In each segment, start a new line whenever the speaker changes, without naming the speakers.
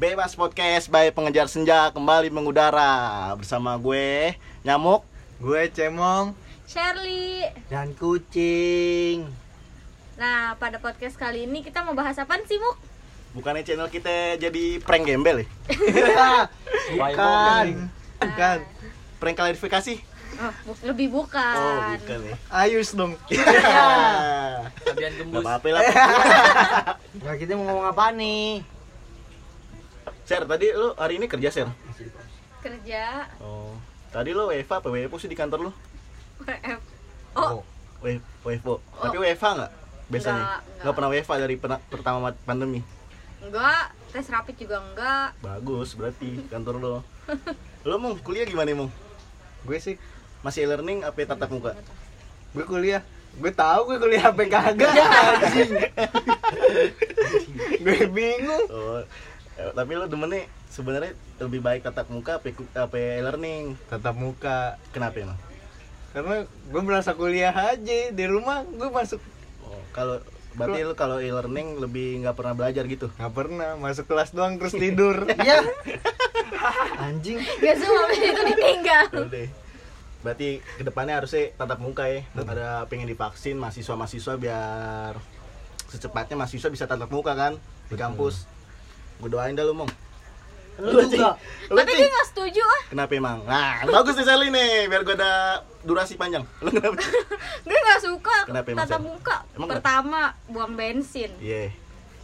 Bebas Podcast by Pengejar Senja kembali mengudara bersama gue Nyamuk
Gue Cemong
Shirley.
dan Kucing.
Nah, pada podcast kali ini kita mau bahas apa sih, Muk?
Bukannya channel kita jadi prank gembel ya?
Bukan. Bukan.
Prank klarifikasi?
Oh, bu- lebih bukan.
Oh bukan ya
Ayus dong.
Gak
Fabian Gembus.
apa-apa lah
Nah, kita mau ngomong apa nih?
Ser, tadi lu hari ini kerja Ser?
Kerja
Oh Tadi lu WFA apa WFO sih di kantor lu?
WF. Oh,
W- WFO Tapi WFA nggak? Biasanya?
Nggak,
Nggak
nggak.
pernah WFA dari pena- pertama mat- pandemi?
enggak. Tes rapid juga enggak.
Bagus berarti kantor lo Lo mau kuliah gimana mau?
Gue sih,
Masih e-learning apa tatap muka?
gue kuliah. Gue tahu gue kuliah apa yang kagak. anjing. gue bingung.
Oh, eh, tapi lo demennya sebenarnya lebih baik tatap muka apa, iku- apa e-learning?
Tatap muka.
Kenapa emang?
Karena gue merasa kuliah aja di rumah gue masuk
Oh, kalau berarti lo kalau e-learning lebih nggak pernah belajar gitu?
nggak pernah masuk kelas doang terus tidur iya anjing
Gak semua abis itu ditinggal.
Udah deh. Berarti kedepannya harusnya tatap muka ya. Ada pengen divaksin mahasiswa-mahasiswa biar secepatnya mahasiswa bisa tatap muka kan di kampus. Gue doain dah lu, Mong. Lu juga. Lu
Tapi dia
Cing.
gak setuju ah.
Kenapa emang? Nah, bagus nih Sally nih, biar gue ada durasi panjang. Lu kenapa? Cing?
Dia gak suka
Kenapa emang,
tatap
Sel?
muka.
Emang
Pertama, buang bensin.
Iya.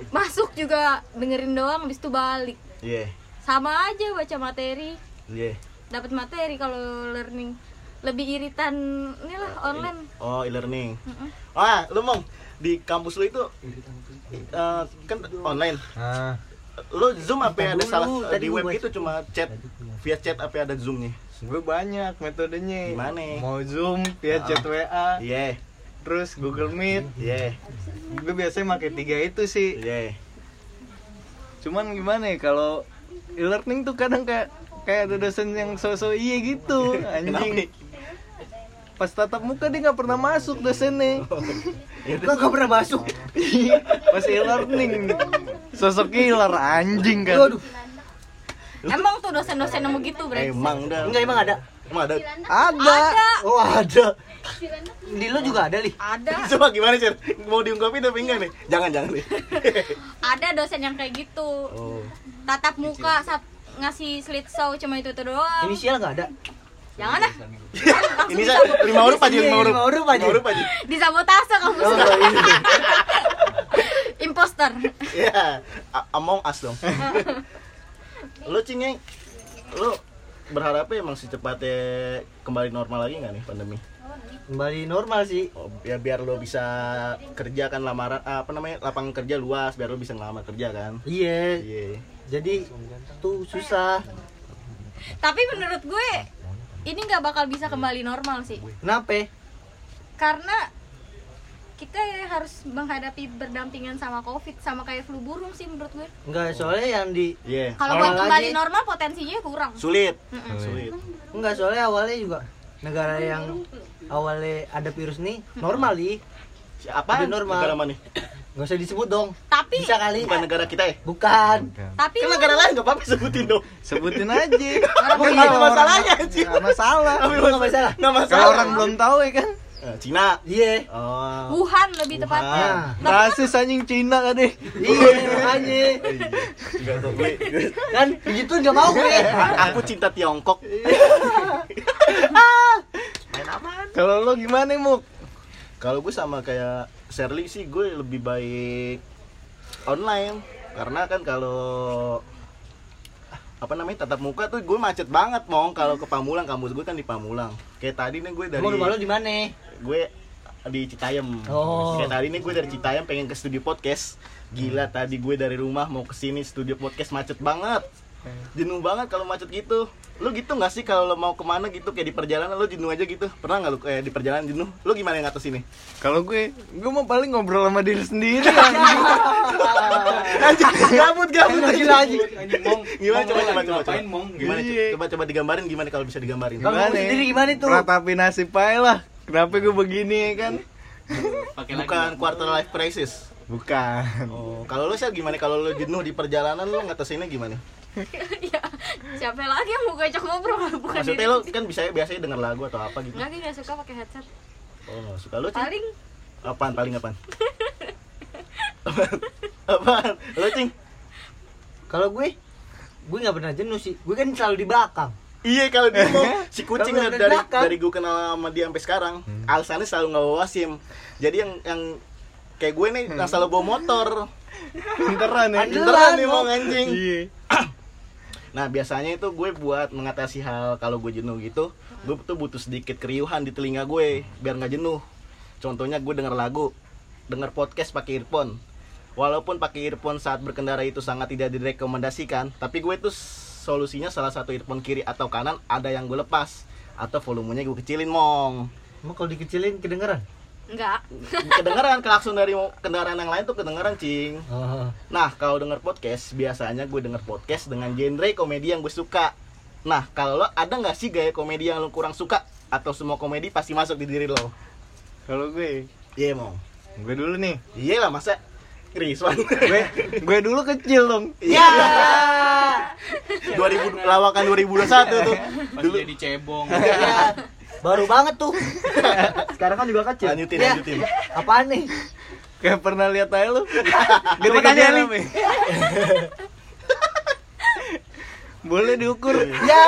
Masuk juga dengerin doang abis itu balik.
Iya.
Sama aja baca materi.
Iya.
Dapat materi kalau learning lebih iritan inilah online.
Oh, e-learning. Wah, lu Mong, di kampus lu itu eh, kan online
ah
lu zoom apa ya ada
Dulu,
salah di
tadi gua
web
baca.
itu cuma chat via chat apa ada zoomnya
gue banyak metodenya
Gimana?
mau zoom via chat wa
iya
terus google meet
iya
gue biasanya pakai tiga itu sih
iya
cuman gimana ya kalau e-learning tuh kadang kayak kayak ada dosen yang sosok iya gitu anjing pas tatap muka dia nggak pernah masuk dosennya
Gue gak pernah masuk.
pas e-learning sosok killer anjing kan
Aduh,
Emang tuh dosen-dosen nemu
Eh,
gitu berarti.
emang dah
enggak emang ada.
emang ada
ada
Oh ada. Di lo juga ada li.
Ada.
coba gimana sih mau diungkapin apa enggak nih jangan jangan nih
ada dosen yang kayak gitu
oh
tatap muka sat- ngasih slit show cuma itu tuh doang
Inisial nggak ada.
jangan ah
ini saya lima huruf aja lima
Iya,
huruf
lima huruf aja. Oh, iya.
lima huruf aja
disabotase kamu
Oh.
sudah imposter
ya among us dong lu cingeng lu berharapnya emang secepatnya kembali normal lagi nggak nih pandemi
Kembali normal sih.
Oh, ya biar lo bisa kerja kan lamaran apa namanya lapangan kerja luas biar lo bisa ngelamar kerja kan
Iya.
iya
Jadi tuh susah.
tapi menurut gue ini nggak bakal bisa kembali normal sih
Kenapa?
karena kita harus menghadapi berdampingan sama covid sama kayak flu burung sih menurut gue
Enggak soalnya yang di
iya
kalau
Awal
buat kembali
lagi.
normal potensinya kurang
sulit
Mm-mm.
sulit
enggak soalnya awalnya juga negara yang awalnya ada virus nih normal li.
siapa
Lebih normal.
negara mana
Nggak usah disebut dong.
tapi
Bisa kali.
bukan negara kita ya
Bukan.
tapi
kan
lu-
negara lain nggak apa-apa sebutin dong
sebutin aja Oh, iya,
Apa
nggak ada
gitu?
masalahnya anjir
nggak masalah
Tapi
Nggak masalah.
nggak
kalau
masalah
orang belum tahu ya kan
Eh, Cina
Iya.
oh
Wuhan lebih tepatnya
Ah.
rasis anjing Cina kan deh
Iya makanya.
Nggak tahu gue.
Kan begitu nggak mau gue.
aku cinta Tiongkok
kalau lo gimana muk
kalau gue sama kayak Shirley sih gue lebih baik online karena kan kalau apa namanya tatap muka tuh gue macet banget mong kalau ke Pamulang kampus gue kan di Pamulang kayak tadi nih gue dari
Mau rumah lo di mana?
gue di Citayam
Oh.
kayak tadi nih gue dari Citayam pengen ke studio podcast gila tadi gue dari rumah mau ke sini studio podcast macet banget jenuh banget kalau macet gitu lu gitu nggak sih kalau lo mau kemana gitu kayak di perjalanan lu jenuh aja gitu pernah nggak lu kayak di perjalanan jenuh lu gimana yang atas ini
Kalau gue, gue mau paling ngobrol sama diri sendiri anjing.
Anjing, gabut gabut
Gila, gila, anjing.
Gimana coba coba coba coba.
Mong?
Gimana
Iya.
coba coba digambarin gimana kalau bisa digambarin.
Kalau ngomong sendiri gimana tuh?
Ratapi nasib aja lah. Kenapa gue begini ya kan?
Pakai lagi.
Bukan quarter life crisis.
Bukan.
Oh, kalau lu sih gimana kalau lu jenuh di perjalanan lu ngatasinnya gimana?
ya siapa lagi yang mau ngajak ngobrol kalau bukan
Maksudnya lu kan bisa biasanya denger lagu atau apa gitu.
Enggak, gue gak suka pakai headset
Oh, nggak suka lu cing.
paling
Apaan paling apaan? Apaan? apaan? Lu cing.
Kalau gue, gue nggak pernah jenuh sih. Gue kan selalu di belakang.
Iya kalau dia mau si kucing
Kalau
dari
dari
dari,
belakang.
gue kenal sama dia sampai sekarang
Hmm.
alasannya selalu nggak bawa SIM. Jadi yang yang kayak gue nih
Hmm.
yang selalu bawa motor.
Pinteran ya.
Anjing.
Beneran
Jelan,
nih mau
Mo.
anjing.
Iya.
Nah biasanya itu gue buat mengatasi hal kalau gue jenuh gitu Gue tuh butuh sedikit keriuhan di telinga gue biar nggak jenuh Contohnya gue denger lagu, denger podcast pakai earphone Walaupun pakai earphone saat berkendara itu sangat tidak direkomendasikan Tapi gue tuh solusinya salah satu earphone kiri atau kanan ada yang gue lepas Atau volumenya gue kecilin mong
Emang kalau dikecilin kedengeran?
enggak
Kedengeran klakson dari mo- kendaraan yang lain tuh kedengeran cing
Oh.
Nah, kalau denger podcast, biasanya gue denger podcast dengan genre komedi yang gue suka. Nah, kalau lo ada nggak sih gaya komedi yang lo kurang suka? Atau semua komedi pasti masuk di diri lo?
Kalau gue,
Iya, mau.
gue dulu nih.
Iya lah, masa Rizwan?
Gue gue dulu kecil dong.
Iya! 2000, lawakan 2021 tuh.
Pas
Dulu.
jadi cebong.
Iya. Baru banget tuh. Sekarang kan juga kecil.
Lanjutin,
Ya,
lanjutin.
Apaan nih?
Kayak pernah lihat aja lu.
Coba
Gede-gede
tanya nih.
nih. Boleh diukur
Ya,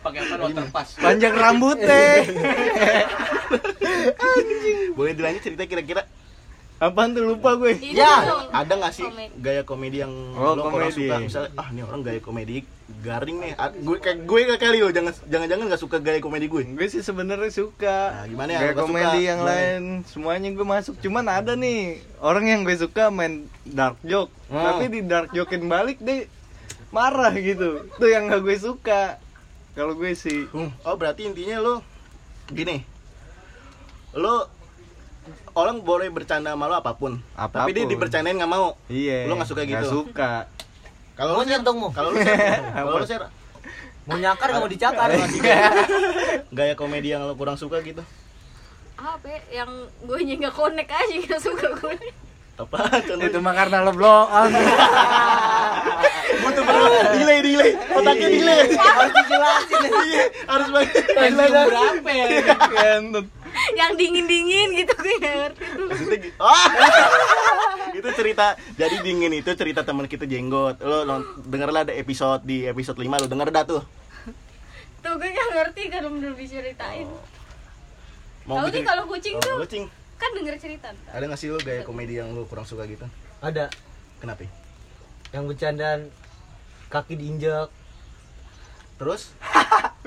Pakai apa water pass.
panjang rambutnya.
Boleh dilanjut cerita kira-kira
Apaan tuh lupa gue.
Ini
Ya,
dong.
ada nggak sih
Komedi.
gaya komedi yang
Oh,
lo kurang
komedi.
suka? Misalnya, ah ini orang gaya komedi garing nih. Ah, gue kayak gue nggak kali lo, jangan jangan-jangan nggak suka gaya komedi gue.
Gue sih sebenarnya suka.
Nah, gimana yang
Kayak
lo suka?
komedi yang
Gimana?
lain semuanya gue masuk. Cuman ada nih orang yang gue suka main dark joke.
Hmm.
Tapi di dark jokein balik deh marah gitu. Tuh yang gak gue suka. Kalau gue sih
Hmm, Oh berarti intinya lo gini, lo orang boleh bercanda sama lo apapun, tapi dia
Apapun.
dibercandain nggak mau.
Iya.
Lo nggak suka
Nggak
gitu?
suka.
Kalau lo
monyet dong mau.
kalau lo share, kalau lo share
Mau nyakar nggak mau dicakar.
Iya. gaya komedi yang lo kurang suka gitu,
apa ya, yang gue nya nggak connect aja nggak suka gue
apa? Contohnya
Itu mah karena Ah. lo blow out.
butuh perlu delay delay,
Iya.
otaknya delay.
Harus dijelasin.
Iya, harus banget.
Berapa ya?
iya. Kentut.
yang dingin dingin gitu gue nggak ngerti tuh
Maksudnya gi- Ah! itu cerita jadi dingin itu cerita teman kita jenggot lo, lo dengerlah ada episode di episode 5 lo denger dah tuh
tuh gue nggak ngerti kalau belum diceritain
Oh.
Tahu
bikin-
nih kalau kucing
Oh,
tuh.
lo, Cing.
kan denger cerita ntar.
Ada gak sih lo gaya komedi yang lo kurang suka gitu?
Ada
Kenapa? ya?
yang bercandaan kaki diinjak.
Terus?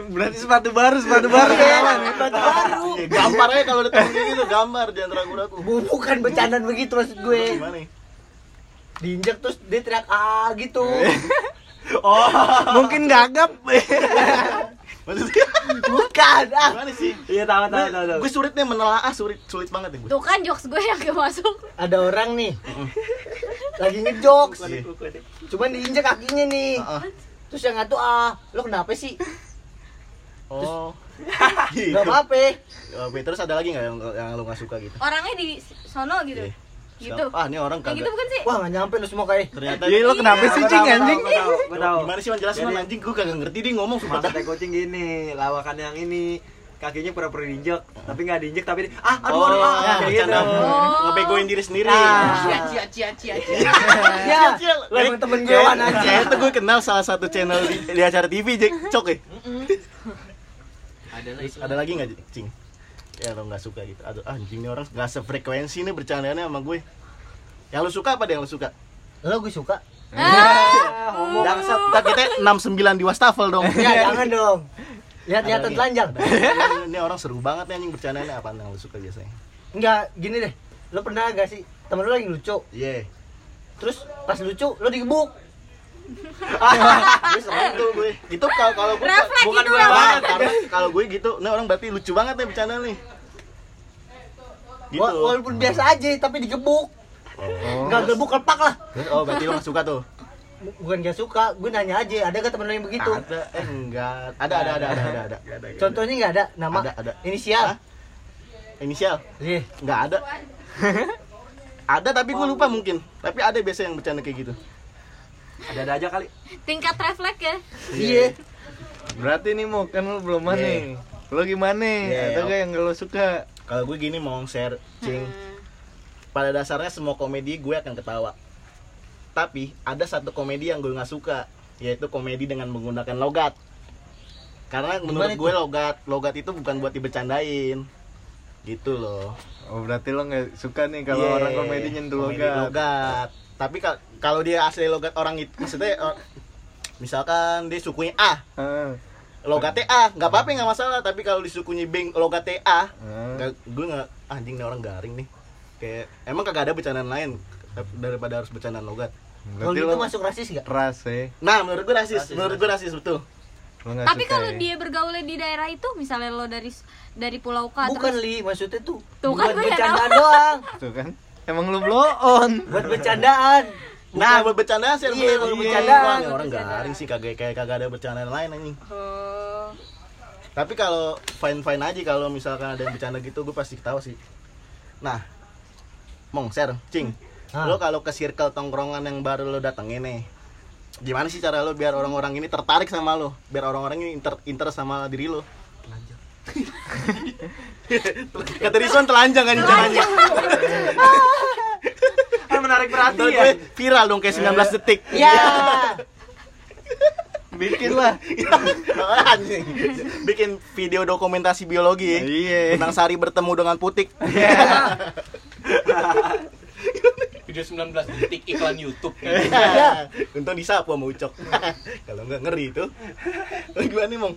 Berarti sepatu baru, sepatu baru ya.
baru.
Iya, gambar aja kalau ada temen kayak gitu, gambar jangan ragu-ragu.
Bu- Bukan bercandaan begitu maksud gue.
Gimana? ya?
Diinjak terus dia teriak ah gitu.
Mungkin gagap.
Maksudnya
Bukan. Ah.
gimana sih?
Iya tahu tahu tahu. tahu.
Gue sulit nih menelaah, sulit sulit banget ya gue.
tuh kan jokes gue yang gak masuk
Ada orang nih lagi ngejokes.
Iya.
Cuman diinjak kakinya nih.
Ah, ah.
Terus yang ngatu ah, lo kenapa sih?
Oh. gitu.
Gak apa-apa.
Oke, terus ada lagi nggak yang yang lo gak suka gitu?
orangnya di sono gitu
Iya.
gitu
Ah, ini orang
kayak
kagak.
gitu bukan sih
Wah nggak nyampe lo semua kayak.
Ternyata
Iya lo kenapa sih cing anjing?
Coba, Gimana sih man jelasin Man? anjing gue kagak ngerti dia ngomong sumpah dah.
Mata kucing gini, lawakan yang ini kakinya pura-pura diinjek, tapi nggak diinjek tapi di- ah aduh aduh
Oh,
ah
ya,
kayak gitu.
bercanda. Ngebegoin diri sendiri.
Cia cia cia cia. cia.
Ya, lo emang temen gue wan aja.
Kayaknya tuh gue kenal salah satu channel di, di acara TV, Jack Cok ya.
Ada lah
Terus
itu.
ada lagi nggak Jack? cing? Ya lo nggak suka gitu. Aduh, anjing nih orang nggak sefrekuensi nih bercandanya sama gue. Yang lo suka apa deh yang lo suka?
Lo gue suka.
Dangsat. Ntar kita 69 di wastafel dong.
Ya jangan dong.
Ada
Lihat-lihatan
lagi.
telanjang.
Ada lagi. Ini orang seru banget nih anjing bercandanya apa yang lo suka biasanya?
Enggak, gini deh. Lo pernah gak sih temen lo lagi lucu,
Iya.
terus pas lucu lo digebuk.
Gue serem tuh gue. Itu kalau kalau
Nah,
gue
Refleks gitu
bukan
itu
gue
refleks.
banget. Karena kalau gue gitu, nih orang berarti lucu banget nih bercanda nih. Gitu.
Wa- Walaupun biasa aja tapi digebuk. Enggak gebuk lepak lah.
Oh, berarti lo gak suka tuh?
Bu- Bukan gak suka, gue nanya aja, ada gak temen lo yang begitu?
Ada, eh enggak. Ada, ada, ada, ada, ada. ada.
Contohnya nggak ada nama
Ada, ada.
inisial.
Hah? Inisial?
Iya.
Enggak ada. Ada tapi gue lupa mungkin. Tapi ada biasa yang bercanda kayak gitu.
Ada-ada aja kali.
Tingkat refleks ya.
Iya.
Berarti nih mau kan lu belum mana? Lu gimana?
Iya,
Ada gak yang lo suka?
Kalau gue gini mau share, cing. Pada dasarnya semua komedi gue akan ketawa. Tapi ada satu komedi yang gue nggak suka, yaitu komedi dengan menggunakan logat. Karena menurut gue logat, logat itu bukan buat dibecandain. Gitu loh.
Oh berarti lo gak suka nih kalau
Iya,
orang komedi nyentuh
komedi
logat.
logat. Tapi kal- kalau dia asli logat orang itu, maksudnya or- misalkan dia sukunya A,
Heeh.
logatnya A, nggak apa-apa nggak masalah. Tapi kalau di sukunya B, logatnya A,
Heeh.
nggak- gue nggak "Ah, anjing nih orang garing nih. Kayak emang kagak ada bercandaan lain daripada harus bercandaan logat. gitu
Kalau
Berarti
itu
lo
masuk rasis gak?
ras ya.
Nah, menurut gue rasis, menurut gue rasis betul.
Lo gak
Tapi
suka
kalau
ya?
dia bergaulnya di daerah itu, misalnya lo dari dari Pulau K
Bukan
terus
Li, maksudnya tuh,
Tuh kan
buat
gua yang
bercandaan doang,
Tuh kan. Emang lu blow on.
buat bercandaan.
Nah, buat bercandaan sih,
Iya,
buat
buat
bercandaan.
bercandaan.
Wah, nih orang garing sih kagak kayak kagak ada bercandaan lain anjing.
Oh.
Tapi kalau fine fine aja kalau misalkan ada yang bercanda gitu gue pasti ketawa sih. Nah, Mong, share, Cing.
Ah.
Hah?
Lo kalau ke circle tongkrongan yang baru lo datengin nih. Gimana sih cara lo biar orang-orang ini tertarik sama lo? Biar orang-orang ini inter interest sama diri lo? Telanjang. Kata Rizwan telanjang kan caranya.
Kan menarik
Ntar
perhatian. Eh.
gue viral dong kayak 19 detik.
Ya,
Bikin lah.
Anjing. Bikin video dokumentasi biologi.
Iya.
Tentang Sari bertemu dengan Putik.
Video 19 detik iklan YouTube.
Eh.
Iya. Untung disapu sama Ucok. Kalau nggak ngeri itu. Lu gimana nih, Mong?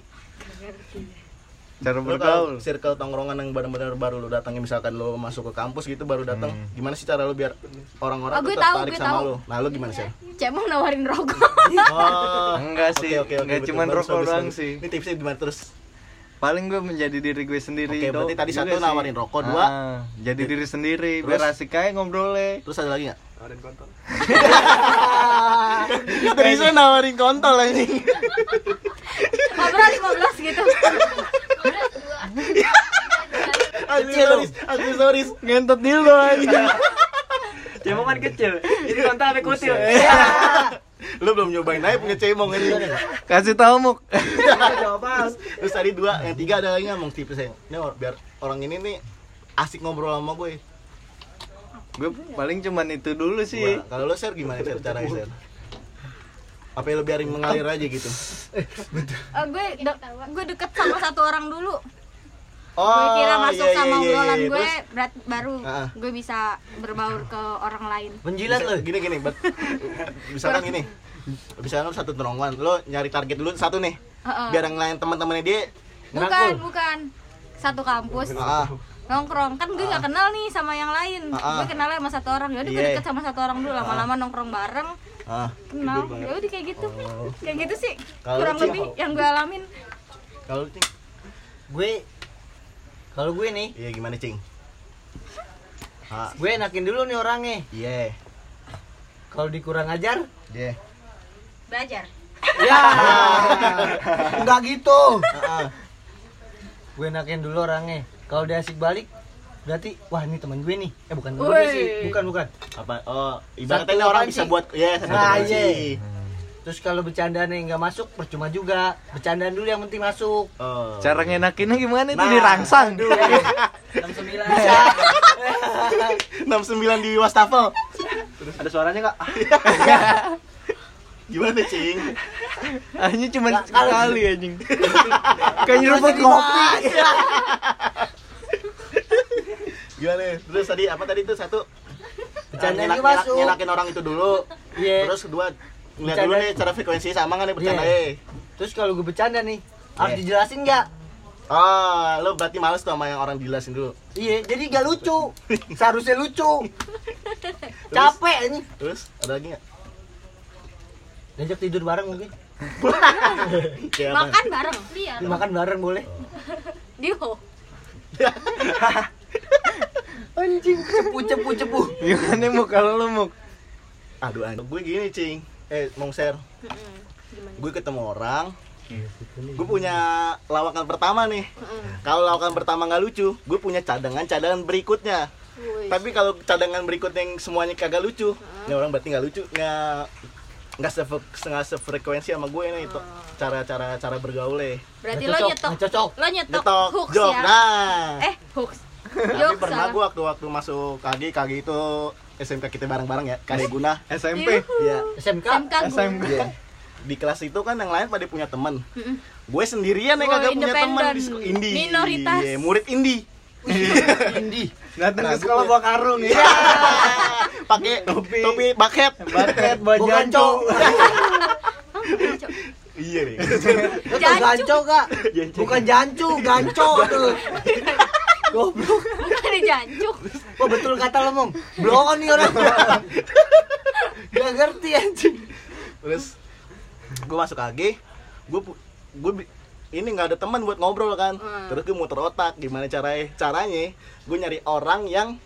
Cara
Lu kalau
bergaul.
circle tongkrongan yang benar-benar baru lu datangnya misalkan lu masuk ke kampus gitu baru datang,
Hmm.
gimana sih cara lu biar orang-orang
Oh,
tuh
gue tahu,
tertarik
gue
sama
tahu.
lu? Nah, lu gimana sih?
Cek mau nawarin rokok.
Oh.
Enggak sih,
oke, oke, oke,
enggak
betul.
cuman
Bagus,
rokok
bagus,
doang
bagus.
sih.
Ini tipsnya gimana terus?
Paling gue menjadi diri gue sendiri.
Oke, berarti
do-
tadi
juga
satu
sih.
nawarin rokok, dua.
Ah, jadi diri sendiri, biar
Terus?
asik aja ya. ngobrolnya.
Terus ada lagi nggak?
Orang kontol.
Kata Rizwan nawarin kontol ini.
Ngobrol 15 gitu.
Aksesoris, aksesoris.
Ngentot dildo aja.
Cemong kan kecil. Ini kontol sampai kutil.
Lu belum nyobain aja punya cemong ini.
Kasih tahu Muk.
jawaban.
Terus tadi dua, yang tiga ada lagi ngomong tipsnya. Ini or- biar orang ini nih asik ngobrol sama gue.
gue paling cuman itu dulu sih.
Wah,
Iya.
kalau lo share gimana share caranya share? Apa yang lo biarin mengalir aja gitu?
Eh, gue de- gue deket sama satu orang dulu.
Oh,
gue kira
iya,
masuk
iya,
sama
iya,
obrolan
iya.
gue
Terus,
berat- baru
Ah.
gue bisa berbaur ke orang lain.
Menjilat
bisa-
lo.
Gini gini, bet. misalkan gini. Misalkan lo satu terongwan, lo nyari target dulu satu nih.
Heeh.
Biar yang lain teman-temannya dia
Bukan,
Ngerangkul.
bukan. Satu kampus.
ah,
Nongkrong kan gue nggak kenal nih sama yang lain.
Ah, ah.
Gue kenal sama satu orang. Yaudah gue
Iya.
deket sama satu orang dulu lama-lama nongkrong bareng.
ah.
Kenal. Yaudah kayak gitu. Kayak gitu sih.
Oh. Kalau
Kurang
sih-
lebih yang gue alamin.
Kalau lo, cing,
Gue, kalau gue nih,
iya gimana cing? Ah,
gue enakin dulu nih orangnya.
iya,
Kalau dikurang ajar,
iya.
Belajar.
ya, nggak gitu.
Ah, ah.
Gue enakin dulu orangnya. Kalau dia asik balik, berarti wah ini teman gue nih. Eh bukan teman gue sih, bukan bukan.
apa oh ibaratnya
Satu
ini orang
apaan
bisa
sih?
buat ya satu
Ah,
apaan
iya.
sih?
Terus kalau bercandaan yang nggak masuk, percuma juga. Bercandaan dulu yang penting masuk.
Oh.
Cara ngenakinnya gimana itu
Nah,
dirangsang.
69.
69 di wastafel
Ada suaranya enggak?
gimana cing
Hanya cuman sekali anjing. Kayak nyeruput
Jadi
kopi.
gimana terus tadi apa tadi itu satu
Bercandaan
nyelak-
yang
nyelak-
masuk.
nyelakin orang itu dulu
Iya.
terus kedua ngeliat dulu
Bercanda.
nih cara frekuensi sama nggak nih bercanda
Iya.
eh
Terus kalau gue bercanda nih, harus
Iya.
dijelasin nggak?
oh lo berarti males tuh sama yang orang dijelasin dulu
Iya, jadi gak lucu. Seharusnya lucu. Capek ini.
terus ada lagi nggak
Diajak tidur bareng mungkin.
kayak apa
Makan bareng. Iya.
Makan bareng boleh.
Dio.
Anjing, cepu cepu cepu.
Gimana Muk kalau lu Muk?
aduh anjing gue gini cing eh mong share gue ketemu orang gue punya lawakan pertama nih kalau lawakan pertama nggak lucu gue punya cadangan cadangan berikutnya
Wih.
Tapi kalau cadangan berikut yang semuanya kagak lucu, ya orang berarti nggak lucu, nggak nggak sefre, nggak sefrekuensi sama gue nih itu
Mm.
cara-cara cara bergaulnya.
Berarti
Nggak
lo
cocok,
nyetok,
nggak cocok.
lo nyetok,
Nyetok
hooks
jok.
ya?
Nah.
Eh, hooks.
Tapi
Jok
pernah
salah.
gue waktu waktu masuk KG, KG itu SMK kita bareng-bareng ya, kasih
Eh.
guna.
SMP
Yuhu.
Iya.
SMK
SMK gue.
SMP
Di kelas itu kan yang lain pada punya teman.
Mm-mm.
Gue sendirian yang
Gue
kagak punya teman
independen.
di sekolah Indi.
Minoritas.
Iya, murid Indi.
Indi
datang
Nah,
ke
gue
sekolah
punya-
bawa karung ya
Pakai topi, topi bucket.
baket bawa
bukan
jancok
cowok
Oh,
iya nih.
Lu tau ganco kak bukan jancu ganco tuh goblok
Bukan jancuk.
Wah betul kata lo mong blow on nih orang gak ngerti anjing
Terus gue masuk KG, gue gue bi- ini nggak ada teman buat ngobrol kan.
Hmm.
Terus gue muter otak gimana caranya? Caranya gue nyari orang yang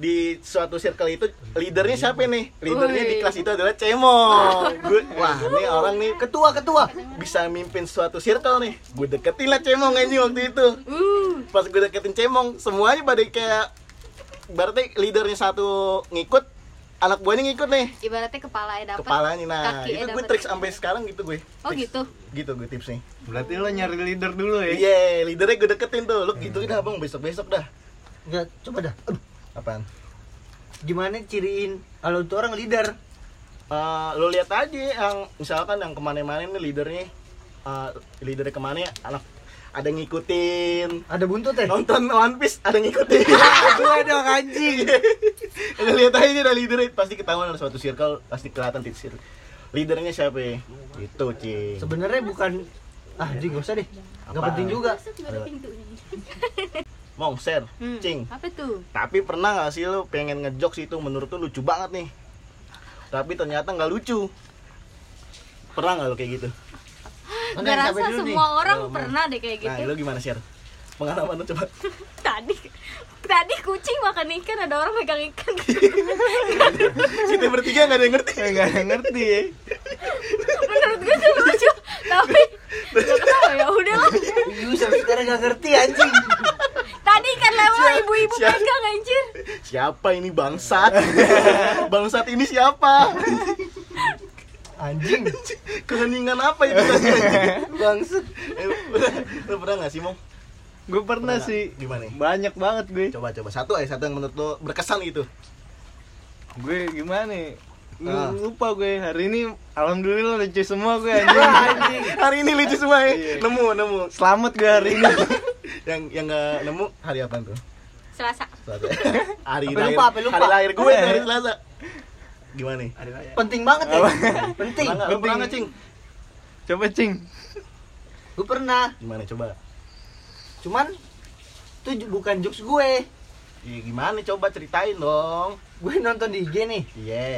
di suatu circle itu leadernya siapa nih? Leadernya di
Wih.
kelas itu adalah Cemong. Gue wah, ini orang nih ket-
ketua ketua
bisa mimpin suatu circle nih. Gue deketin lah Cemong ini waktu itu.
Uh,
Pas gue deketin Cemong, semuanya pada kayak berarti leadernya satu ngikut, anak buahnya ngikut nih
ibaratnya kepala ya dapat.
kepalanya nah
kaki
itu
ya
gue
dapet.
trik sampai sekarang gitu gue
Oh
Triks.
gitu.
gitu gue tipsnya
berarti lo nyari leader dulu ya
iya leadernya gue deketin tuh lu gitu dah bang besok besok dah
Nggak, coba dah Aduh,
apaan
gimana ciriin kalau itu orang leader
Eh, lu lihat aja yang misalkan yang kemana-mana nih leadernya eh, leadernya kemana ya, anak ada yang ngikutin
ada buntut ya
nonton One Piece ada yang ngikutin
gue dong anjing
lu lihat aja dah leadernya pasti ketahuan ada suatu circle pasti kelihatan di circle leadernya siapa ya? itu cing
sebenarnya bukan ah anjing gak usah deh nggak
Apaan?
penting juga
Masa cuma ada pintunya?
mau share
Hmm,
cing
Apa tuh?
Tapi pernah gak sih lu pengen ngejokes itu menurut lu lucu banget nih Tapi ternyata gak lucu Pernah gak lu kayak gitu?
Mana
Gua
yang
rasa
sampai dulu nih?
semua orang pernah deh kayak
Nah
gitu.
lu gimana share? Pengalaman lu coba
Tadi tadi kucing makan ikan ada orang megang ikan.
Kita bertiga gak ada yang ngerti
nggak ada yang ngerti ya
Menurut gue tuh lucu, tapi gak ketawa ya udah lah.
Ih, sampai sekarang gak ngerti anjing
Tadi ikan lewat ibu-ibu
siap.
pegang anjir.
Siapa ini bangsat? bangsat ini siapa?
anjing
Keheningan apa itu tadi anjing?
bangsat
Eh, lu- Lu pernah gak sih Mong?
gue
Pernah.
pernah sih
Gimana?
banyak banget gue
Coba coba satu aja satu yang menurut lu berkesan gitu
gue gimana ya? Lu-
Ah.
lupa gue hari ini alhamdulillah lucu semua gue Iya, anjing
Hari ini lucu semua ya
Iya.
Nemu nemu
selamat gue hari ini
Yang yang gak nemu hari apa tuh?
Selasa.
Selasa. hari
Apa
lahir,
lupa, apa lupa? Iya.
hari lahir gue
Eh.
hari Selasa. Gimana nih?
penting banget ya penting
Pernah nggak? Lu pernah nggak, Cing?
coba cing
gue pernah
Gimana coba?
cuman itu ju- bukan jokes gue
Iya, gimana coba ceritain dong.
gue nonton di IG nih
Iya.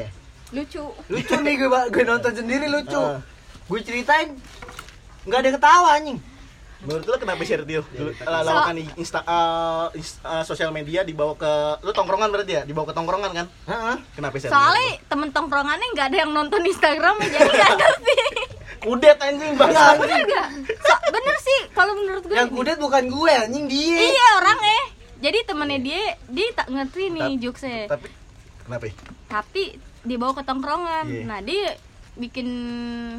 Lucu.
lucu nih gue ba- gue nonton sendiri lucu
Ah.
gue ceritain nggak ada yang ketawa anjing
Menurut lo kenapa share Tio?
Iya,
Dulu- eh, Lawakan di insta, eh, ins- eh, sosial media dibawa ke lu tongkrongan berarti ya? Dibawa ke tongkrongan kan?
Heeh.
Kenapa share?
Soalnya temen tongkrongannya nggak ada yang nonton Instagram jadi nggak ngerti.
kudet anjing
Iya,
bangsa.
anjing.
Nggak. So- bener sih kalau menurut gue.
yang kudet bukan gue anjing dia
Iya orang eh. Jadi temennya dia dia tak ngerti nih jokesnya.
Tapi kenapa? ya?
Tapi dibawa ke tongkrongan.
Iya.
Nah dia bikin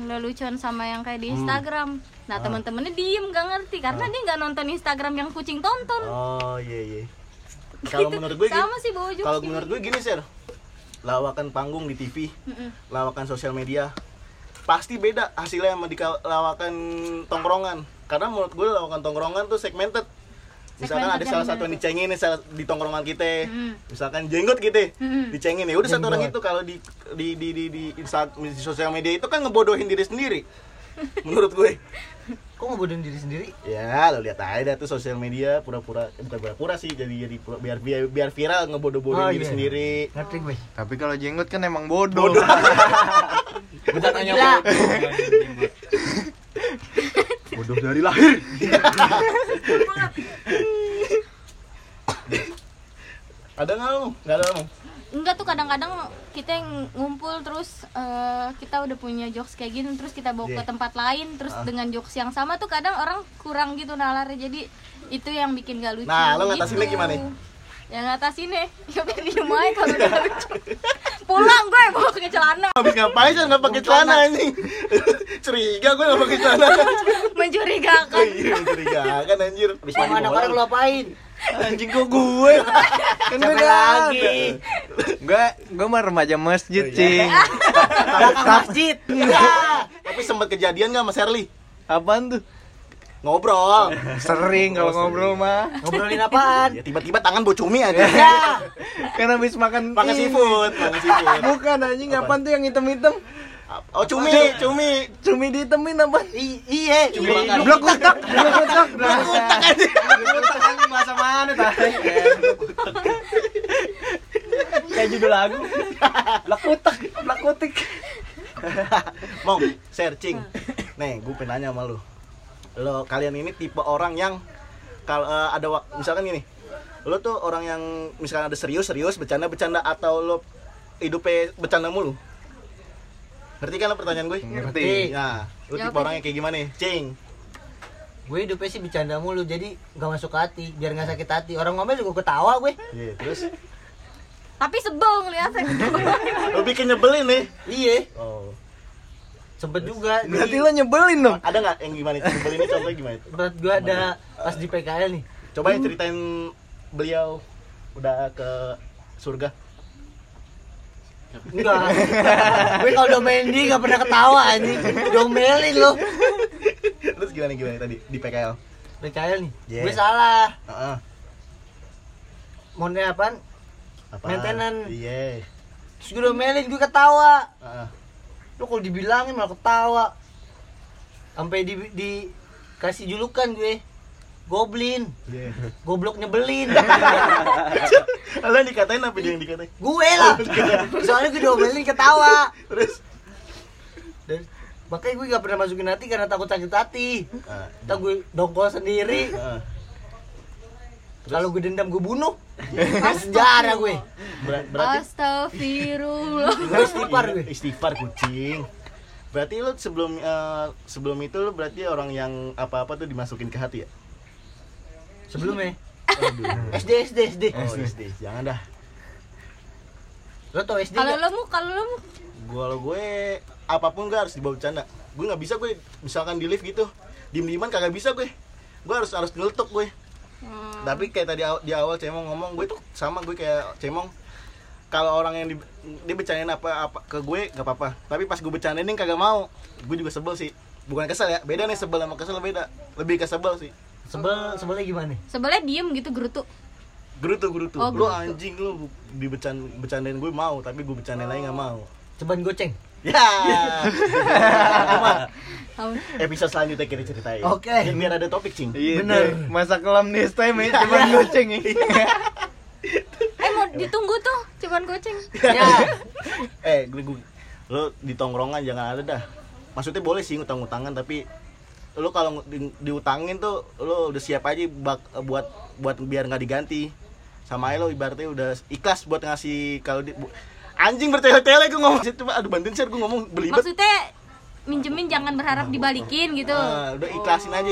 lelucon sama yang kayak di
Hmm.
Instagram.
Ah.
Nah teman-temannya diem nggak ngerti karena dia nggak nonton Instagram yang kucing tonton.
Oh iya iya. Kalau
Gitu.
menurut gue gini-
sama sih bawa jokes.
Kalau
gini.
menurut gue gini, Sir. Lawakan panggung di TV,
Mm-mm.
lawakan sosial media pasti beda hasilnya sama di ka- lawakan tongkrongan. Karena menurut gue lawakan tongkrongan tuh segmented. Misalkan ada
Segmented yang
salah satu yang
gimana
dicengin nih, salah- di tongkrongan kita.
Mm.
Misalkan jenggot kita
Mm-mm.
dicengin ya udah satu orang itu kalau di di di di, di, insta- di sosial media itu kan ngebodohin diri sendiri. menurut gue.
kok ngebodohin diri sendiri
Ya, lo lihat aja dah tuh sosial media pura-pura eh, bukan pura-pura sih jadi jadi pura- biar biar, biar viral ngebodoh-bodohin
Oh,
diri
iya.
sendiri.
ngerti gue
tapi kalau jenggot kan emang bodoh,
Bukan hanya
gila.
bodoh.
bodoh dari lahir
Oh.
Ada nggak lo? Nggak ada lo.
Enggak tuh kadang-kadang kita yang ngumpul terus eh, kita udah punya jokes kayak gini terus kita bawa ke
Iya.
tempat lain terus dengan jokes yang sama tuh kadang orang kurang gitu nalarnya jadi itu yang bikin gak lucu.
Nah, lo ngatasinnya gimana?
yang atas ini ya udah diem aja kalau udah lucu pulang gue bawa ke celana
Habis ngapain sih nggak pakai celana anjing? Curiga gue nggak pakai celana.
mencurigakan
Iya, mencurigakan anjir. Habis
Sama anak-anak lu apain?
Anjing kok gue? Kan gue
Siapa lagi?
Gue gue mah remaja masjid, Cing.
Belakang masjid.
Iya. Tapi sempat kejadian nggak sama Sherly?
Apaan tuh?
Ngobrol.
Oh, Sering kalau ngobrol mah.
Ngobrolin apaan? Iya.
Ya, tiba-tiba tangan bocumi aja.
Kan habis makan
Pakai
Ih,
seafood, pakai seafood.
Iya.
Bukan anjing apaan tuh yang hitam-hitam?
Oh, cumi, cumi.
Cumi dihitemin apaan?
I- Iya,
Cuma
iya.
kan.
Blok utak, blok utak. kan,
Masa mana tadi? Kayak judul lagu. Lekutek, lekutek.
Mong, searching. Nih, gue pengen nanya sama lu. Lo kalian ini tipe orang yang kalau eh, ada wak- misalkan gini. Lo tuh orang yang misalkan ada serius-serius, bercanda-bercanda atau lo hidupnya bercanda mulu? Ngerti kan lo pertanyaan gue?
Ngerti.
Nah, lo tipe
Jawab aja.
orangnya kayak gimana nih? Cing.
Gue hidupnya sih bercanda mulu, jadi gak masuk ke hati, biar gak sakit hati. Orang ngomel juga ketawa gue.
Iya, terus
tapi sebel ngeliatnya
lo bikin nyebelin nih.
Iya,
Oh.
sempet juga.
Berarti lo nyebelin dong.
Ada nggak yang gimana? Nyebelinnya contohnya gimana?
Berat gue ada pas di PKL nih.
Coba ya ceritain beliau udah ke surga.
Enggak. gue kalau udah main di gak pernah ketawa anjing. Domelin lo.
Terus gimana gimana tadi di PKL?
PKL nih.
Yeah.
Gue salah.
Heeh.
Mau nih apaan?
Apaan?
Maintenance.
Iya.
Terus gue domelin, gue ketawa.
Heeh.
Lo kalau dibilangin malah ketawa. Sampai di, di kasih julukan gue. Goblin.
Iya.
Goblok nyebelin.
Lah dikatain apa dia yang dikatain?
gue lah. Soalnya gue domelin ketawa.
Terus
Dan makanya gue gak pernah masukin hati karena takut sakit hati.
Heeh.
Ntar gue dongkol sendiri.
Heeh.
Kalau gue dendam gue bunuh. Sejarah gue.
Ber- berarti Iya,
astagfirullah
Istighfar gue.
istighfar kucing. Berarti lu sebelum eh, sebelum itu lu berarti orang yang apa-apa tuh dimasukin ke hati ya?
Sebelumnya
Aduh.
SD SD SD.
Oh, SD. Jangan dah.
Lo tau SD
kalau
gak?
lo mu kalau lo mu
Gua kalau gue apapun gue harus dibawa bercanda. Gue nggak bisa gue misalkan di lift gitu, diem-dieman kagak bisa gue. Gue harus harus ngeletuk gue.
Hmm.
tapi kayak tadi aw- di awal cemong ngomong gue tuh sama gue kayak cemong kalau orang yang di, dia bercandain apa apa ke gue gak apa-apa tapi pas gue bercandain yang kagak mau gue juga sebel sih bukan kesel ya beda nih sebel sama kesel beda lebih ke sebel sih
Sebel sebelnya gimana?
sebelah diem gitu gerutu
gerutu gerutu
Oh,
lu
gerutu.
anjing lu dibecan bercandain gue mau tapi gue bercandain lagi nggak mau
Ceban goceng.
ya
Ampun.
episode selanjutnya kita ceritain
Oke.
Biar- biar ada topik cing
Iya,
Bener.
deh. Masa kelam this time ya, cuman goceng ya.
eh mau ditunggu tuh cuman kucing
Ya.
eh gue, gue lo di tongkrongan jangan ada dah maksudnya boleh sih ngutang-ngutangan tapi lo kalau ngu- di- diutangin tuh lo udah siap aja bak- buat buat biar nggak diganti sama aja lo ibaratnya udah ikhlas buat ngasih kalau di- bu- anjing bertele-tele gue ngomong Shit, coba aduh bantuin share gue ngomong belibet
maksudnya minjemin jangan berharap dibalikin gitu
Ah, udah ikhlasin aja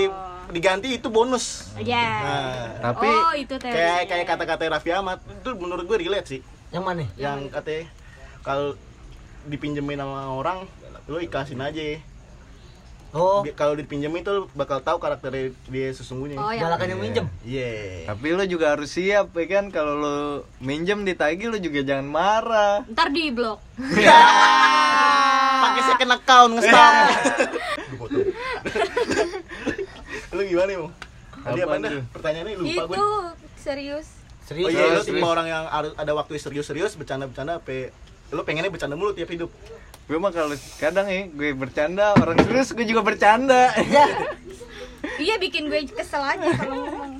diganti itu bonus
ya
Nah,
Tapi
oh itu
kayak
teorinya.
kayak kata-kata Raffi Ahmad itu menurut gue relate sih
Yang mana?
yang katanya kalau dipinjemin sama orang lo ikhlasin aja
Oh,
Bi- kalau dipinjemin tuh bakal tahu karakter dia sesungguhnya.
oh yang
galakan yang minjem.
Iya.
tapi lo juga harus siap ya kan kalau lo minjem ditagih lo juga jangan marah.
ntar di blok Ah.
Pakai second account ngestok.
Iya.
Lu foto. lu gimana, Bang? Tadi apa
Apaan
dah?
tuh?
Pertanyaannya lupa gue.
itu serius
Oh
Serius.
iya, lu
Serius,
tipe
serius.
orang yang harus ada waktu serius-serius, bercanda-bercanda apa lu pengennya bercanda mulu tiap hidup.
Gue mah kalau kadang ya gue bercanda orang serius gue juga bercanda.
Ya,
iya bikin gue kesel aja kalau ngomong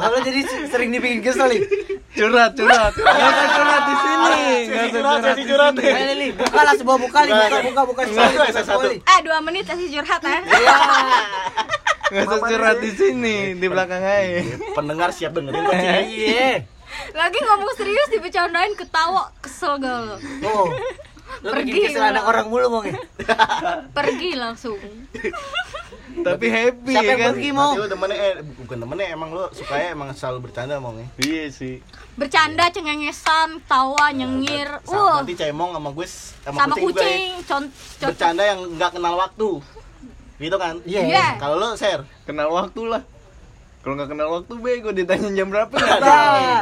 Lalu jadi sering dibikin kesel nih.
curhat curhat. Gak usah curhat di sini. Gak usah
curhat,
curhat.
sesi curhat.
Ayo Li, buka lah sebuah buka nih, buka buka buka
Enggak,
sekali, buka
saya satu.
sekali.
eh dua menit kasih curhat ya
Iya.
Gak usah curhat di sini di belakang aja.
Pendengar siap dengerin kok, Cing.
Iya.
lagi ngomong serius dibecandain ketawa kesel gak lo
Oh. Lo bikin
Pergi.
ya? kesel anak orang mulu, Bang.
pergi langsung
tapi happy ya
Siapa yang
kan
pergi mau?
Tapi lu temennya, eh, bukan temennya emang lu sukanya emang selalu bercanda ya? mau nih.
iya sih
Bercanda, cengengesan, tawa, nyengir. Wah,
Nanti cemong sama gue s- juga
sama
ya.
kucing, con- con-
Bercanda yang nggak kenal waktu. Gitu kan?
Iya.
Iya.
Kalau lu share
kenal waktu lah kalau nggak kenal waktu bego ditanya jam berapa nggak tahu
Nah,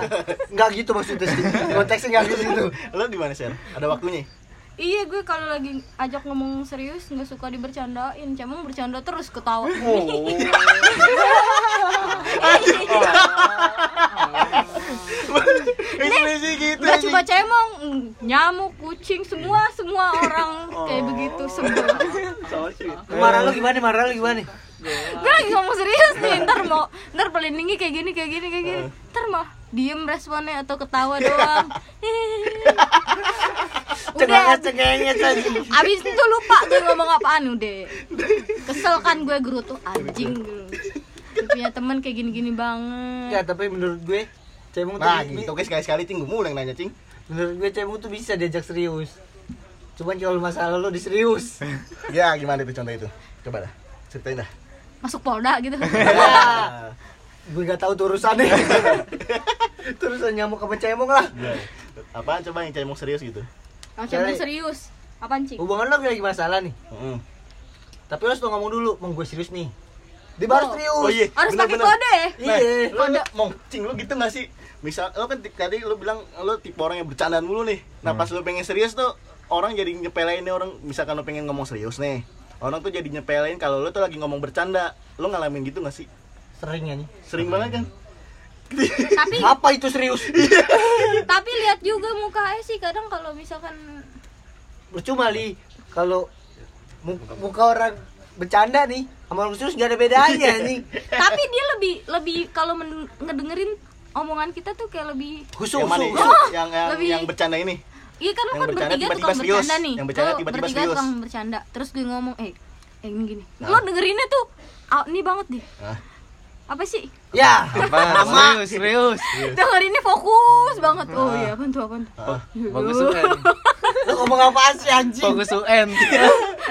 nggak gitu maksudnya sih. Konteksnya nggak gitu gitu.
lu gimana share Ada waktunya?
Iya gue kalau lagi ajak ngomong serius nggak suka dibercandain, cemong bercanda terus ketawa.
Oh.
Ekspresi gitu.
Gak
anjing.
cuma cemong, mm, nyamuk, kucing, semua semua orang kayak begitu sebel.
Marah lu gimana? Marah lu gimana?
gue lagi ngomong serius nih, ntar mau ntar pelindungi kayak gini kayak gini kayak gini, ntar mah diem responnya atau ketawa doang. udah,
Cengengat cengenget aja.
abis itu lupa gue ngomong apaan udah. Kesel kan gue gerutu anjing dulu. Gue Punya teman kayak gini-gini
Nggak,
banget.
Ya, tapi menurut gue Cemung tuh
Nah,
bi-
gitu guys, sekali-sekali cing gue mulai nanya cing.
menurut gue Cemung tuh bisa diajak serius. Cuman kalau masalah lu diserius.
Ya, gimana itu contoh itu? Coba dah. Ceritain dah.
Masuk Polda gitu.
Nah,
Ya. gue nggak tahu tuh urusannya. Terusan nyamuk sama Cemung lah.
Apaan coba yang cemong serius gitu?
Yang cemong serius. Apaan cing?
Hubungan lo lagi masalah nih.
Mm.
Tapi lo harus tuh ngomong dulu, mau gue serius nih. Dia baru
Oh.
serius.
Oh, iya.
Harus pakai
Bener-bener.
kode ya?
Nah,
Iya.
lu lu- mau cing lu gitu gak sih? Misal lu kan t- tadi lu bilang lu tipe orang yang bercandaan mulu nih. Nah,
Hmm.
pas lu pengen serius tuh orang jadi nyepelein nih orang misalkan lu pengen ngomong serius nih. Orang tuh jadi nyepelein kalau lu tuh lagi ngomong bercanda. Lu ngalamin gitu gak sih?
Sering aja.
Sering banget kan?
Tapi
Apa itu serius?
Iya.
tapi lihat juga mukanya sih kadang kalau misalkan
Percuma li kalau mu- muka orang bercanda nih sama orang serius nggak ada bedanya nih.
tapi dia lebih lebih kalau men- ngedengerin omongan kita tuh kayak lebih
Husu
yang mana?
husu.
Yang,
husu.
yang, yang,
Lebih-
yang bercanda ini.
iya kan lu
Yang
kan
bercanda
bertiga
tiba-tiba
tukang
serius.
bercanda nih
Yang bercanda
Lu
tiba-tiba
bertiga
serius. Nah.
tukang bercanda terus gue ngomong eh eh gini gini lo dengerinnya tuh ah, ini banget deh
Hah?
apa sih
Iya.
Ya.
Apaan? serius serius
dengerinnya fokus banget oh iya apaan tuh apaan tuh
Oh,
Ah.
fokus UN
Lo ngomong apaan sih anjing?
fokus UN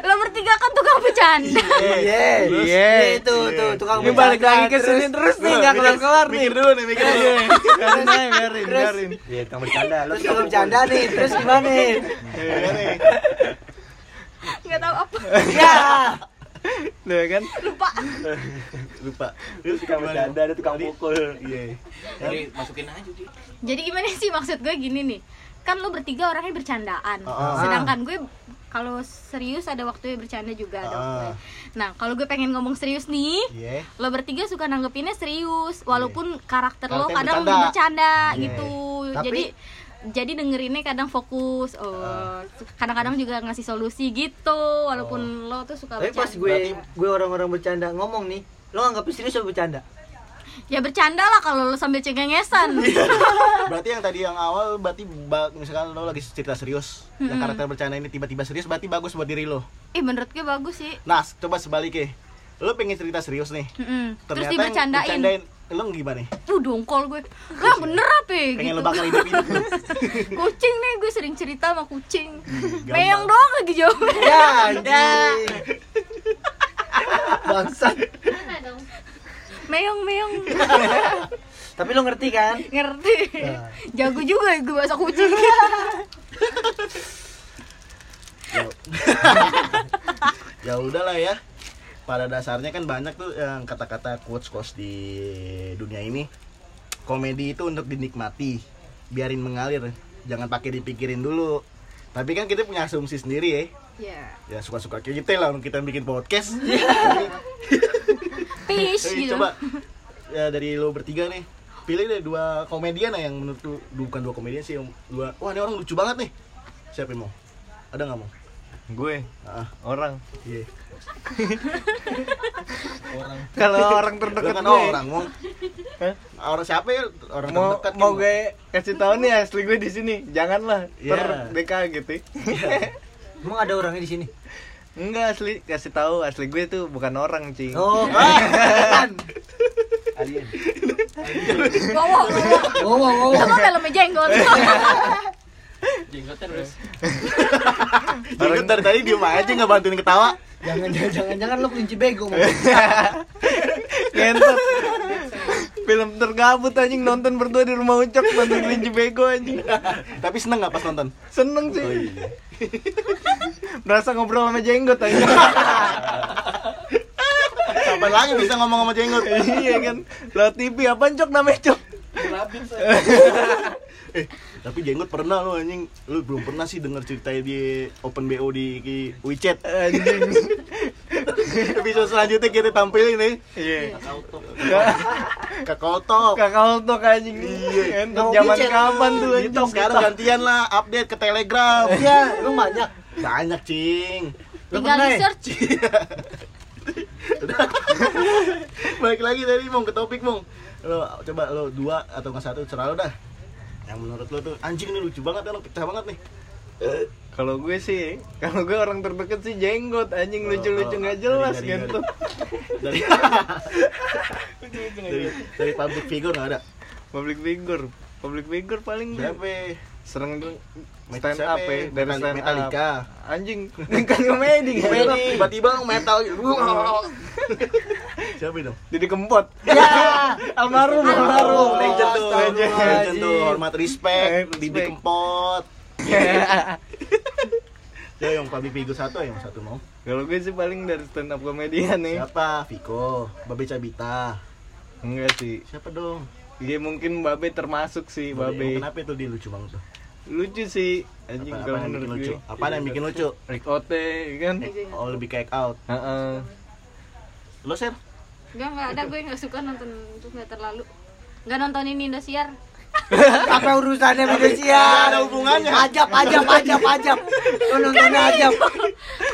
lo bertiga kan tukang bercanda
Iya.
Terus?
Iya. Itu tuh tukang
ini balik lagi ke sini terus nih nggak kelar kelar nih
Nah, Mikir dulu nih, mikir dulu.
biarin aja, biarin biarin
Iya, kamu bercanda. Lu
Terus kalau bercanda nih, terus gimana?
Iya nih.
nggak tahu apa
Ya.
Tuh kan
lupa
Lupa. Terus
tukang
gimana?
bercanda, ada tukang pukul.
Iya.
Jadi masukin aja dia.
jadi gimana sih maksud gue gini nih kan lo bertiga orangnya bercandaan
Ah.
sedangkan gue kalau serius ada waktunya bercanda juga ada
Ah.
waktunya. nah kalau gue pengen ngomong serius nih
Iya.
lo bertiga suka nanggepinnya serius walaupun karakter lo
Karakternya
kadang
Iya. bercanda.
bercanda,
Iya.
gitu
Tapi-
jadi jadi dengerinnya kadang fokus
Ah.
oh kadang-kadang juga ngasih solusi gitu walaupun
Oh.
lo tuh suka
Tapi pas
bercanda
gue gue orang-orang bercanda ngomong nih, lo anggapnya serius atau bercanda?
ya bercanda lah kalau lo sambil cengengesan
Berarti yang tadi yang awal berarti ba- misalkan lo lagi cerita serius, yang karakter bercanda ini tiba-tiba serius berarti bagus buat diri lo.
eh menurut gue bagus sih
Nah, s- coba sebaliknya. Lo pengen cerita serius nih.
Mm-mm. terus
Ternyata yang
dibercandain
bercandain, lo gimana nih?
tuh dongkol gue lah bener apa ya?
Pengen
gitu
lo bakal hidup-hidup lo.
kucing nih gue sering cerita sama kucing
Hmm, gampang.
meong doang lagi jawabnya
Ya, anjing. Bangsat.
meong meong
Tapi lo ngerti kan?
ngerti
Nah.
jago juga ya gue bahasa kucing
ya udahlah ya. Pada dasarnya kan banyak tuh yang kata-kata quotes quotes di dunia ini. Komedi itu untuk dinikmati, biarin mengalir, jangan pakai dipikirin dulu. Tapi kan kita punya asumsi sendiri ya.
ya
Ya suka-suka kita lah orang kita bikin podcast.
fish
Hey,
Iya.
gitu
coba ya, dari lo bertiga nih pilih deh dua komedian lah yang menurut lu du- bukan dua komedian sih yang dua wah ini orang lucu banget nih siapa yang mau ada nggak mau
gue
ah
orang
iya
kalau orang
Lu
terdekat
kan
gue
orang mau
Hah?
orang siapa ya orang
mau
terdekat
mau
kan?
gue kasih tahu nih asli gue di sini janganlah ter
Iya.
DK gitu
Emang ada orangnya di sini?
enggak asli kasih tahu asli gue tuh bukan orang cing
Oh,
Alien.
wow wow wow
wow, wow, wow.
sama filmnya jenggot
Jenggotnya terus.
Jadi lu dari tadi diem aja nggak bantuin ketawa
jangan jangan jangan, jangan lu kelinci bego Mam.
Ngentot. Film tergabut anjing nonton berdua di rumah Ucok nonton kelinci bego anjing.
Tapi seneng nggak pas nonton?
Seneng sih.
Oh, iya.
Berasa ngobrol sama jenggot anjing.
Kapan lagi bisa ngomong sama jenggot?
iya kan. Lo TV apa Cok namanya Cok?
Eh, tapi jenggot pernah lo anjing. Lu belum pernah sih denger ceritanya di Open BO di, di WeChat.
Anjing.
Episode selanjutnya kita tampilin nih.
Iya.
Kakak Otok.
Kakak Ucok anjing.
Iya.
Ngentot zaman
Ngomongin
kapan tuh anjing?
Gitu, sekarang gantian lah update ke Telegram.
Iya, lu banyak.
Banyak, Cing.
Tinggal
pernah
di
ya?
search.
eh, Balik lagi tadi, Mong, ke topik, Mong. Lo coba lo dua atau nggak satu serah lo dah. Yang menurut lo tuh anjing ini lucu banget, orang pecah banget nih.
Eh, Kalau gue sih, kalau gue orang terdekat sih jenggot anjing
Oh,
lucu-lucu
oh,
nggak
dari-
jelas
dari-
gitu.
Dari dari, dari public figure nggak ada.
Public figure, public figure paling
Siapa?
serang dulu
Metal
stand up ya dari stand
Metallica.
up anjing kan komedi
Metal,
komedi
tiba-tiba metal gitu. Siapa dong?
jadi kempot
Ya,
almarhum
Baru
almarhum
Iya. legend tuh, legend,
Astagfirullahaladzim.
legend tuh, hormat respect,
Respect.
Didi Kempot. Iya.
Ya.
Ya yang public figure satu yang satu mau.
kalau gue sih paling dari stand up
Eh.
komedian ya. nih
Siapa? Viko, Babe Cabita.
enggak sih
Siapa dong?
gue mungkin babe termasuk sih
Emang
babe
Kenapa itu dia lucu banget tuh?
lucu sih anjing
Apa,
kalau
apaan yang bikin
menurut
lucu?
gue
Apa yang bikin lucu?
Rick Ote ya kan
Oh lebih kayak out.
Heeh.
Lo share?
Enggak, enggak ada gue enggak suka nonton itu enggak terlalu. Enggak nontonin Indosiar.
apa urusannya Indonesia?
ada hubungannya.
Ajab, ajab, ajab, ajab. Kan Lu nontonnya ajab.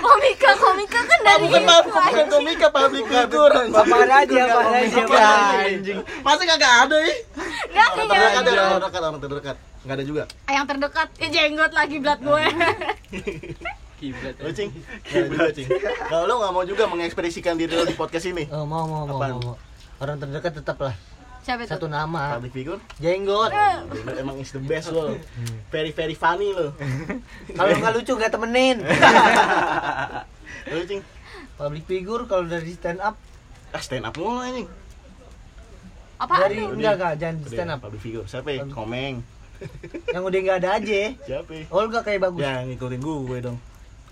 Komika, komika kan dari itu.
bukan komika public figure.
Bapak aja, bapak aja.
anjing
Masa kagak ada ya?
Enggak,
Orang
enggak.
terdekat, ada orang terdekat, orang terdekat. Enggak ada juga.
Eh, Yang terdekat, eh jenggot lagi blat gue.
Kiblat.
Lo cing, Nggak ada juga, cing. Kalau lo nggak mau juga mengekspresikan diri lo di podcast ini,
Oh, mau, mau, mau,
Apaan?
mau, mau. Orang terdekat tetaplah
Siapa itu?
satu nama.
public figure
Jenggot.
Bener, kan? emang is the best lo very very funny lo
Kalau nggak lucu nggak temenin.
lo cing
Public figure kalau dari stand up
ah stand up mulu anjing
Apaan
dari
tuh?
enggak enggak jangan di stand up.
Udah, public figure siapa ya? komeng
Yang udah nggak ada aja.
siapa ya?
Olga kayak bagus.
ya ngikutin gue dong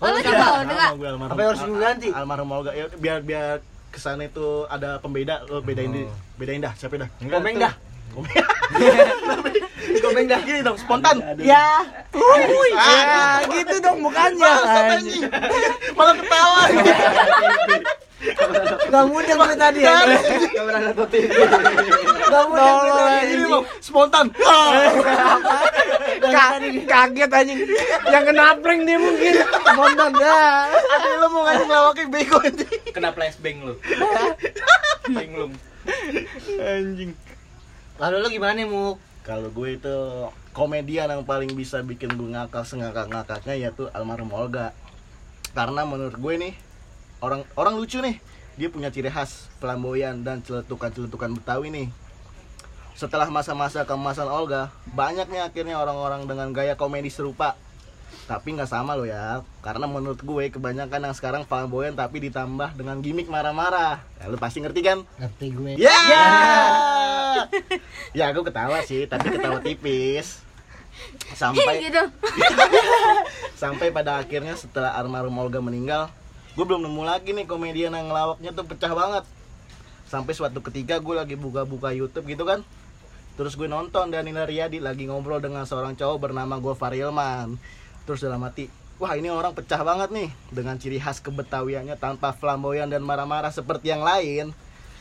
Oh, lu coba,
Sama
enggak?
gue almarhum
Apa yang harus gue ganti?
Al- almarhum Olga ya biar biar kesannya itu ada pembeda lo bedain
Oh.
di- bedain dah siapa dah
Komeng dah.
komeng dah gini dong spontan
Ya. Ah,
ya gitu dong mukanya anjing
malah ketawa
Gak mudah gue tadi ya. Gak pernah nonton TV. Gak mudah gue
Tolol,
tadi.
ini mau spontan Ah.
Ka- kaget anjing yang kena prank dia mungkin Bondan
ya.
dah
Ada lo mau ngasih ngelawakin bego anjing
Kena flashbang lu. Linglung.
anjing
Lalu lo gimana Muk?
Kalau gue itu komedian yang paling bisa bikin gue ngakak sengakak-ngakaknya yaitu almarhum Olga. Karena menurut gue nih orang orang lucu nih. Dia punya ciri khas flamboyan dan celetukan-celetukan Betawi nih. Setelah masa-masa keemasan Olga, banyaknya akhirnya orang-orang dengan gaya komedi serupa. Tapi nggak sama loh ya, karena menurut gue kebanyakan yang sekarang flamboyan tapi ditambah dengan gimmick marah-marah. Ya, lu pasti ngerti kan?
Ngerti gue.
Ya. Ya, aku ketawa sih, tapi ketawa tipis. Sampai
gitu.
sampai pada akhirnya setelah almarhum Olga meninggal, gue belum nemu lagi nih komedian yang ngelawaknya tuh pecah banget. Sampai suatu ketika gue lagi buka-buka YouTube gitu kan. Terus gue nonton Danila Riyadi lagi ngobrol dengan seorang cowok bernama Gofar Hilman. Terus dalam hati, wah ini orang pecah banget nih dengan ciri khas kebetawiannya tanpa flamboyan dan marah-marah seperti yang lain.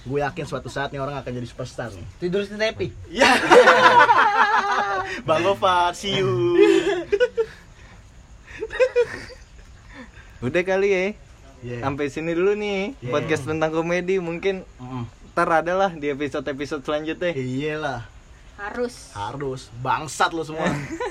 Gue yakin suatu saat nih orang akan jadi superstar nih.
Tidur di tepi.
Ya. Bang Gofar, see you.
udah kali
Iya.
ya
Yeah.
sampai sini dulu nih
Yeah.
podcast tentang komedi mungkin
Mm.
ntar ada lah di episode episode selanjutnya
Iyalah,
Harus.
harus bangsat lo semua.